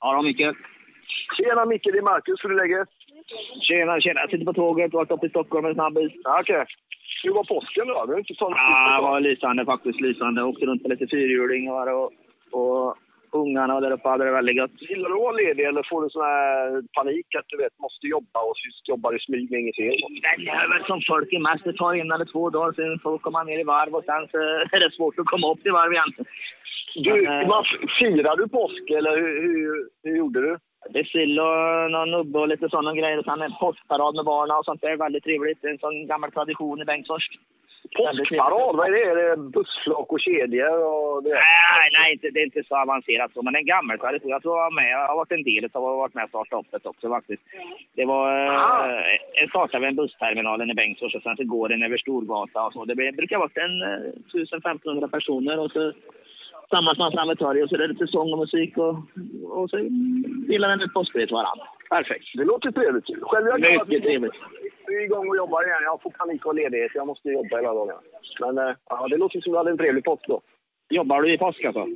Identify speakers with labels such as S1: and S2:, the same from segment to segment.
S1: Ja då, Micke.
S2: Tjena Micke, det är Marcus. Hur är läget?
S1: Tjena, tjena. Jag sitter på tåget, vart uppe i Stockholm en snabbis.
S2: Ja, Okej. Hur var påsken då? Det är inte sånt.
S1: Ja, det var lysande faktiskt. Lysande. Åkte runt på lite fyrhjulingar och, och ungarna där uppe hade det väldigt gött.
S2: Gillar du att vara ledig eller får du sån här panik att du vet, måste jobba och just jobbar i smyg med inget fel?
S1: Den jävel som folk är mest, det tar en eller två dagar, sen får komma ner i varv och sen så är det svårt att komma upp i varv igen.
S2: Du,
S1: Men, eh,
S2: man, firar du påsk eller hur, hur, hur gjorde du?
S1: Det är sill och någon nubbe och lite sådana grejer. Och sen en påskparad med barnen och sånt där. Väldigt trevligt. En sån gammal tradition i Bengtsfors. Väldigt trevligt.
S2: Påskparad, vad är det? Är det bussflak och kedjor och det?
S1: Nej, nej inte, det är inte så avancerat så. Men en gammal tradition. Jag tror jag var med. Jag har varit en del av och varit med och startat upp det också faktiskt. Det var...
S2: Ah.
S1: Eh, jag startade vid en bussterminalen i Bengtsfors och sen så går den över Storgatan och så. Det blir- brukar vara en eh, 1500 personer och så samlas man framme vid torget och så är det lite sång och musik och, och så delar den ut påskbrev varandra. Perfekt.
S2: Det låter trevligt. Själv jag
S1: Mycket
S2: att vi-
S1: trevligt.
S2: Vi är igång och jobbar igen. Jag får panik och ledighet. Jag måste jobba hela dagarna. Men eh, ja, det låter som du hade en trevlig påsk då.
S1: Jobbar du i påsk alltså?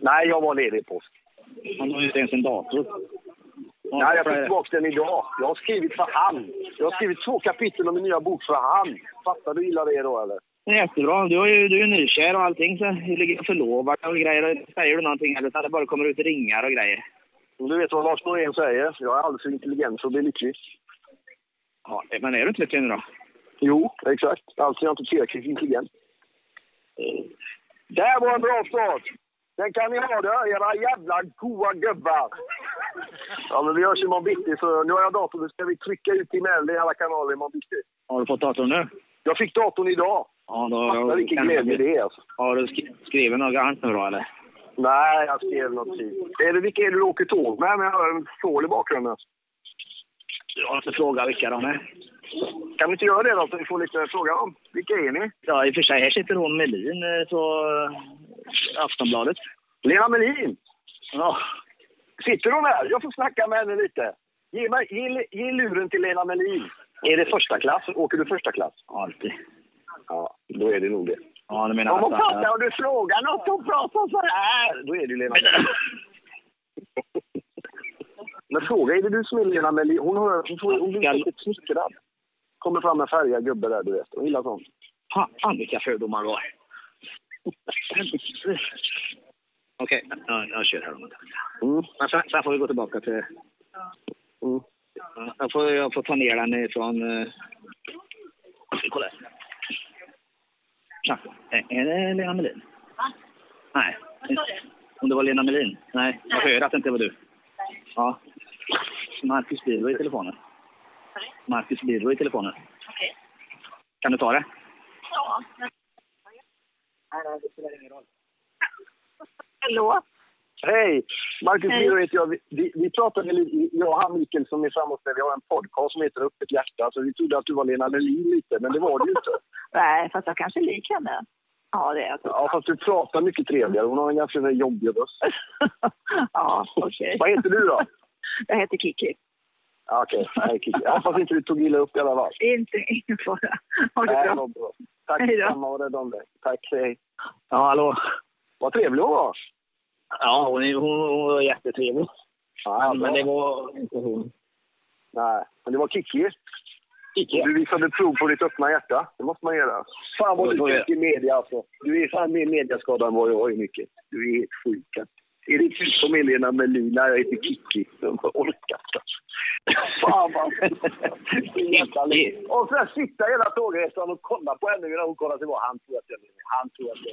S2: Nej, jag var ledig i påsk.
S1: Han har ju inte ens en dator.
S2: Nej, jag fick tillbaka den idag. Jag har skrivit för hand. Jag har skrivit två kapitel om min nya bok för hand. Fattar du illa det då eller?
S1: Det är Jättebra. Du är ju du är nykär och allting. Så du ligger förlovad och grejer. Och säger du någonting eller så det bara kommer ut ringar och grejer.
S2: Om Du vet vad Lars Norén säger. Jag är alldeles för intelligent för att bli lycklig.
S1: Ja, men är du inte lycklig nu då?
S2: Jo, exakt. Alltså jag är inte tillräckligt intelligent. Det här var en bra start. Den kan ni ha det, era jävla goa gubbar. Ja, men vi hörs imorgon bitti. Så nu har jag datorn. Nu ska vi trycka ut i mail i alla kanaler imorgon bitti.
S1: Har du fått datorn nu?
S2: Jag fick datorn idag.
S1: Ja, då
S2: Fattar vilken glädje det är alltså.
S1: Har du skri- skrivit något annat nu då eller?
S2: Nej, jag skrev något fint. Är det vilka är det du åker tåg med? Men jag har en strål i bakgrunden.
S1: Jag har inte frågat vilka de är.
S2: Kan vi inte göra det då? Så vi får lite fråga om. Vilka är ni?
S1: Ja, i och för sig. Här sitter hon Melin eh, på eh, Aftonbladet.
S2: Lena Melin!
S1: Ja.
S2: Sitter hon här? Jag får snacka med henne lite. Ge, mig, ge, ge luren till Lena Melin. Är det första klass? Åker du första klass?
S1: Alltid.
S2: Ja, då är det nog det.
S1: Ja, du menar
S2: Om hon
S1: att-
S2: pratar och du frågar något, hon pratar så här. Då är det ju Lena Melin. Men fråga, är det du som är Lena Melin? Hon, hör, hon, får- hon blir
S1: Skall-
S2: säkert smickrad. Kommer fram en färgad gubbe där, du vet. Hon gillar sånt.
S1: Fan vilka fördomar du har. Okej, ja, jag kör här då.
S2: Mm.
S1: Men sen, sen får vi gå tillbaka till...
S2: Mm.
S1: Ja, Jag får, jag får ta ner den ifrån... eh, Jag ska kolla. här. Tja, är- är det Lena Melin? Nej. Om det var Lena Melin? Nej, jag hör att det inte var du. Ja. Marcus Birro i telefonen. Marcus Birro i telefonen.
S3: Okej.
S1: Kan du ta det?
S3: Ja. Hallå?
S2: Hej! Marcus
S3: Hej.
S2: Birro heter jag. Vi, vi, vi pratade lite, jag och han Mikael som är framåt där, vi har en podcast som heter Öppet hjärta, så vi trodde att du var Lena Melin lite, men det var du inte.
S3: Nej, fast jag kanske är lik henne. Ja, det är jag.
S2: Ja, fast du pratar mycket trevligare. Hon har en ganska så här jobbig röst.
S3: ja, okej.
S2: Vad heter du då?
S3: Jag heter Kiki.
S2: Ja, Okej, Nej, Kiki. Jag hoppas inte du tog illa upp i alla fall.
S3: Inte ingen fara. Ha det
S2: Nej,
S3: bra.
S2: vad bra. Tack
S3: Hej då.
S2: detsamma, var rädd om dig. Tack, hej.
S1: Ja, hallå?
S2: Vad trevlig hon var.
S1: Ja, hon, är- hon, hon var jättetrevlig.
S2: Ja,
S1: men
S2: bra.
S1: det var inte hon.
S2: Nej, men det var Kiki.
S1: Icke.
S2: Du visade prov på ditt öppna hjärta. Det måste man göra. Fan vad
S1: Det får
S2: du
S1: jag.
S2: gick i media alltså. Du är fan mer mediaskadad än vad jag är mycket. Du är helt sjuk. alltså. Är det du som är Lena Melin? Nej, jag heter Kiki. Jag orkar inte. alltså. Fan vad...
S1: Kiki.
S2: och sen sitta hela tågresan och kolla på henne medan hon kollar tillbaka. Han tror att jag är Lena. Han tror att jag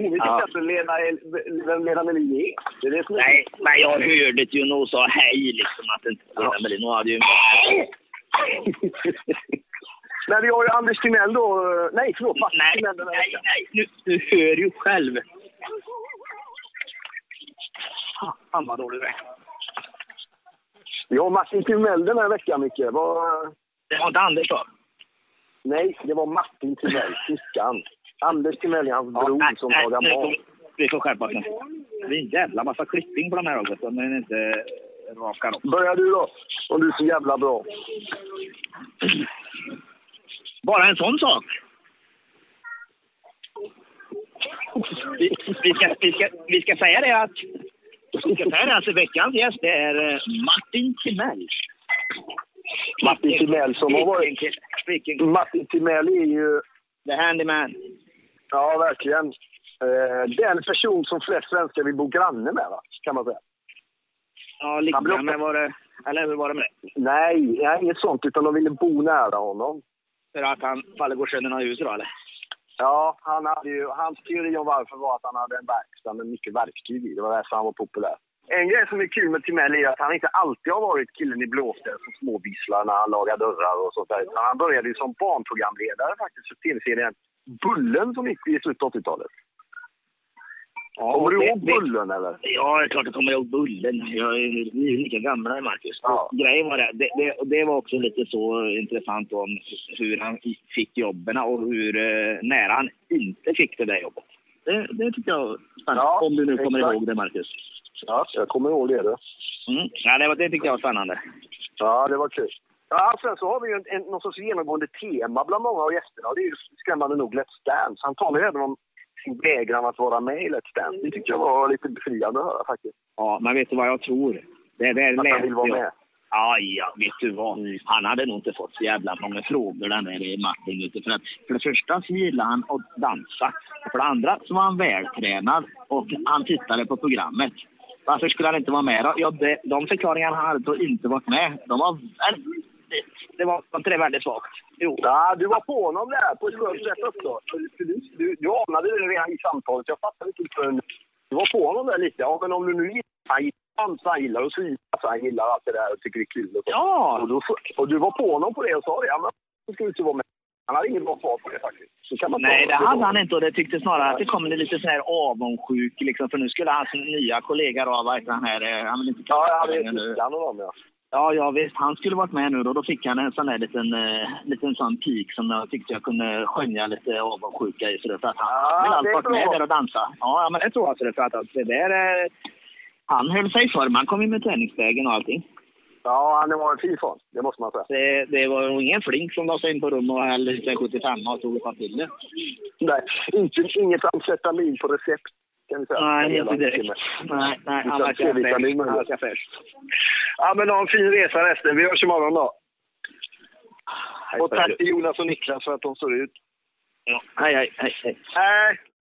S2: är Lena. Hon vet
S1: Ja.
S2: inte ens Lena är- vem Lena Melin är. Det är det som är...
S1: Nej, men jag hörde ju när hon sa hej liksom att det inte var Lena Melin. Hon hade ju...
S2: Men vi har ju Anders Timell då. Nej, förlåt. Mats
S1: Nej,
S2: Timell den här
S1: nej,
S2: veckan.
S1: nej. Nu, du hör ju själv. Fan vad dålig du är.
S2: Ja, Martin Timell den här veckan, Micke. Var...
S1: Det var inte Anders då?
S2: Nej, det var Martin Timell, fiskan. Anders Timell är hans bror
S1: nej,
S2: som
S1: nej,
S2: lagar
S1: nu får
S2: mat.
S1: vi- Vi får skärpa oss nu. Det är en jävla massa klipping på de här också som man inte rakar upp.
S2: Börja du då, om du är så jävla bra.
S1: Bara en sån sak. Vi, vi, ska, vi, ska, vi ska säga det att Det här är alltså veckans gäst, det är eh, Martin Timell.
S2: Martin Timell som har varit...
S1: Vilken kille, vilken kille.
S2: Martin Timell är ju...
S1: The handyman.
S2: Ja, verkligen. Eh, den person som flest svenskar vill bo granne med, va? kan man säga.
S1: Ja,
S2: Han blir ofta-
S1: liknande var det. Eller hur var det med det?
S2: Nej, nej, inget sånt, utan de ville bo nära honom.
S1: För att han faller går sönder några hus då, eller?
S2: Ja, han hade ju, hans teori om varför var att han hade en verkstad med mycket verktyg i. Det var därför han var populär. En grej som är kul med Timell är att han inte alltid har varit killen i blåsten som småvisslar när han lagar dörrar och sånt där. Utan han började ju som barnprogramledare faktiskt för tv-serien Bullen som gick i slutet av 80-talet.
S1: Ja,
S2: Kommer du
S1: det-
S2: ihåg
S1: det-
S2: Bullen eller?
S1: Ja, det är klart jag kommer ihåg Bullen. Jag är ju ni är lika gamla Marcus.
S2: Ja.
S1: Och Grejen var det, det, det, och det var också lite så intressant om hur han fick jobben och hur eh, nära han inte fick det där jobbet. Det, det tycker jag var spännande.
S2: Ja,
S1: om du nu kommer
S2: exakt.
S1: ihåg det Marcus.
S2: Ja, jag kommer ihåg det. du.
S1: Mm. Ja, det, var- det tycker jag var spännande.
S2: Ja, det var kul. Ja, sen så har vi ju en, en, någon sorts genomgående tema bland många av gästerna. Och det är ju skrämmande nog Let's Dance. Han talar ju även om sin vägran att vara med i Let's Dance. Det tycker jag var lite befriande att höra faktiskt.
S1: Ja, men vet du vad jag tror? Det, det
S2: Att han
S1: läste
S2: vill vara
S1: jag.
S2: med.
S1: Ja, ja, vet du vad? Han hade nog inte fått så jävla många frågor den där Martin. vet du, För, att, för det första så gillade han att dansa. För det andra så var han vältränad och han tittade på programmet. Varför skulle han inte vara med då? Ja, det, de förklaringar han hade på att inte varit med, de var väldigt... Det var var inte det väldigt svagt? Jo.
S2: Ja, du var på honom där på ett skönt sätt också. Du, du, du anade det redan i samtalet. Jag fattade inte förrän du var på honom där lite. Ja, men om du nu gillar han gillar dans, han gillar att svina, så han gillar allt det där och tycker det är kul. Och, så.
S1: Ja,
S2: och, då, och du var på honom på det och sa det. Ja, men då ska du inte vara med. Han hade inget bra svar på det faktiskt. Så kan man ta
S1: Nej, det hade han inte och det tyckte snarare att det kom lite sån här avundsjuk liksom, för nu skulle hans nya kollega då, vad heter han här, eh, han vill inte
S2: Ja, jag
S1: längre
S2: hade
S1: nu.
S2: Tyskland och dem, ja.
S1: Ja, ja visst. Han skulle varit med nu då. Då fick han en sån där liten, eh, liten sån pik som jag tyckte jag kunde skönja lite avundsjuka i. Så det, för att han
S2: Ja,
S1: vill
S2: det
S1: alltid
S2: är
S1: varit med
S2: bra.
S1: där och dansa. Ja, ja, men det tror jag. Så det, för att alltså, det där, eh, han höll sig för. Man kom in med träningslägen och allting.
S2: Ja, han var en fin fan. Det måste man säga.
S1: Det, det var nog ingen flink som la sig in på rummet och hällde i sig 75 och tog ett par piller.
S2: Nej, inte, inget amfetamin på recept, kan vi säga.
S1: Nej,
S2: Hela
S1: inte direkt.
S2: timmen.
S1: Nej, nej, han
S2: Utan
S1: verkar
S2: C-vitamin,
S1: fräsch.
S2: men-
S1: Han verkar fräsch.
S2: Ja, men ha en fin resa resten. Vi hörs imorgon då. Och tack till Jonas och Niklas för att de står ut.
S1: Ja, Hej, hej, hej. hej.
S2: Hej!